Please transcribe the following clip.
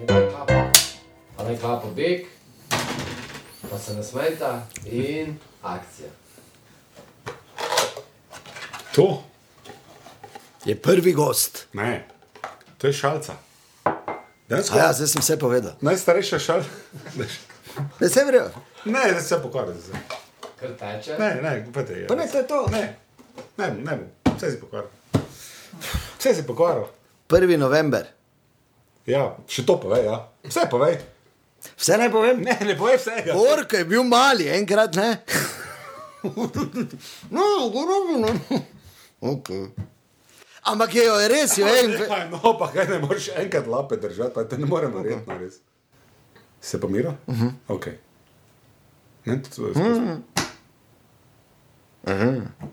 In da kapa, a ne kapa beg, pa se nasmejta in akcija. To? Je prvi gost. Ne, to je šalca. Dejansko, A ja, zdaj sem vse povedal. Najstarejša šalca. Ne, se verjamem. Ne, da se pokvarjam. zdaj. Kar teče, Ne, ne, kupite. Pa ne, to je to. Ne, ne, bom, ne, bom. vse si pokvaril. Vse si pokvaril. Prvi november. Ja, še to povej, ja. Vse povej. Vse naj povem. Ne, ne povej vsega. Orko je bil mali, enkrat ne. No, ogromno. no. Okay. Ampak je jo je res, jo je. in- Nekaj, No, pa kaj ne moreš enkrat lape držati, pa te ne moremo verjeti, no res. Se pomira? Uh Mhm. -huh. Ok. Ne, to je. Uh -huh.